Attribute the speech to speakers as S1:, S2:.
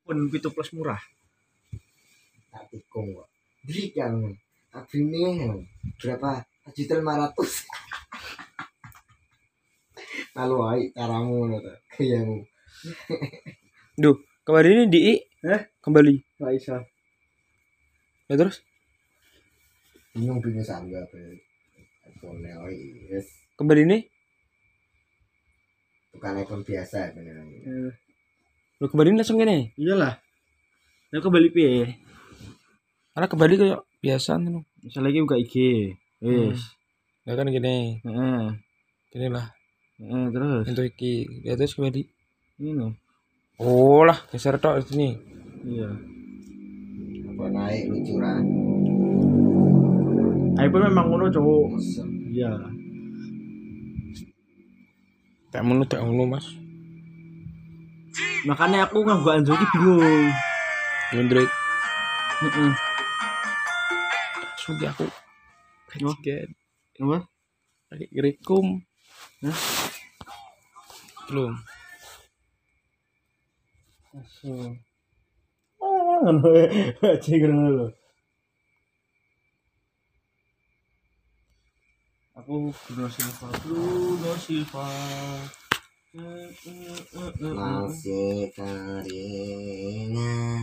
S1: pun pitu plus murah.
S2: Tapi kok berikan agreement berapa? Juta lima ratus. Lalu ayo caramu ngono ta, gayamu.
S3: Duh, kemarin ini di
S1: Eh?
S3: kembali.
S1: Gak bisa.
S3: Ya terus
S2: Bingung bingung sambil apa. iPhone e oi, yes.
S3: kembali ini?
S2: Bukan iPhone biasa benar.
S1: Eh,
S3: Lu kembali langsung gini.
S1: iyalah. Ya kembali piye?
S3: Karena kembali kayak biasa nih.
S1: Misalnya lagi buka IG. Wis.
S3: Ya kan gini.
S1: Heeh.
S3: Gini lah.
S1: Heeh, terus
S3: Untuk iki. Ya terus kembali.
S1: ini.
S3: Oh lah, geser tok di sini.
S1: Iya.
S2: Apa naik lucuran.
S1: iPhone memang ngono, cowok.
S2: Awesome.
S1: Iya.
S3: Tak mulu tak mulu mas.
S1: Makanya aku nggak buka Android bingung.
S3: Android.
S1: Heeh.
S3: Sudah aku.
S1: Oh.
S3: Kajikan.
S1: Apa?
S3: Pakai gerikum.
S1: Hah?
S3: Belum.
S1: Ah, ngono ya. Aja ngono lho. Aku Bruno Silva, Bruno Silva. Eh, eh, eh, eh, eh.
S2: Masih keringan.